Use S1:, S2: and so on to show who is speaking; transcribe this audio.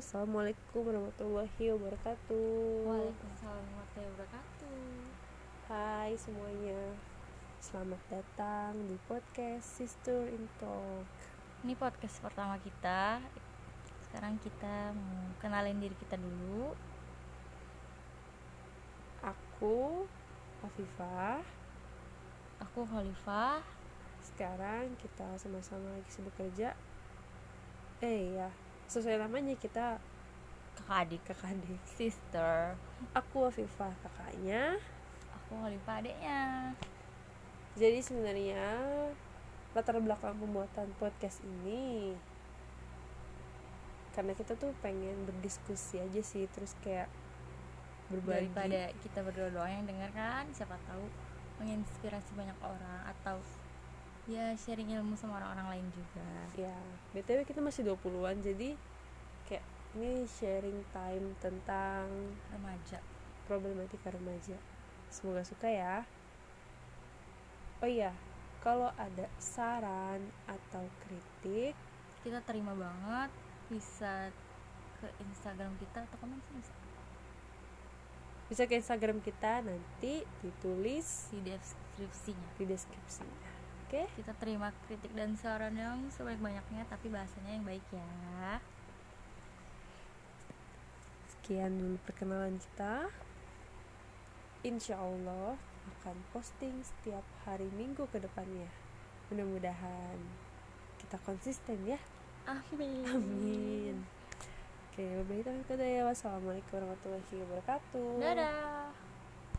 S1: Assalamualaikum warahmatullahi wabarakatuh
S2: Waalaikumsalam warahmatullahi wabarakatuh.
S1: Hai semuanya Selamat datang di podcast Sister in Talk
S2: Ini podcast pertama kita. Sekarang kita mau kenalin diri kita dulu.
S1: Aku Afifah
S2: Aku Khalifah.
S1: Sekarang kita sama-sama lagi sibuk kerja Eh ya Sesuai namanya kita
S2: Kakak adik,
S1: kakak adik
S2: sister.
S1: Aku Afifah kakaknya
S2: Aku Khalifah adiknya.
S1: Jadi sebenarnya latar belakang pembuatan podcast ini karena kita tuh pengen berdiskusi aja sih terus kayak berbagi
S2: Daripada kita berdua doang yang denger kan, siapa tahu menginspirasi banyak orang atau ya sharing ilmu sama orang-orang lain juga.
S1: ya btw kita masih 20-an jadi kayak ini sharing time tentang
S2: Remaja.
S1: problematika remaja semoga suka ya oh iya kalau ada saran atau kritik
S2: Kita terima banget bisa ke Instagram kita atau komen sih bisa.
S1: bisa ke instagram kita nanti ditulis
S2: di deskripsinya.
S1: di deskripsi. Oke,
S2: kita terima kritik dan saran yang sebanyak-banyaknya tapi bahasanya yang baik ya
S1: sekian dulu perkenalan kita. Insya Allah akan posting setiap hari Minggu ke depannya. Mudah-mudahan kita konsisten ya.
S2: amin
S1: Amin. Oke, wabillahi taufiq wal hidayah. wassalamualaikum warahmatullahi wabarakatuh.
S2: dadah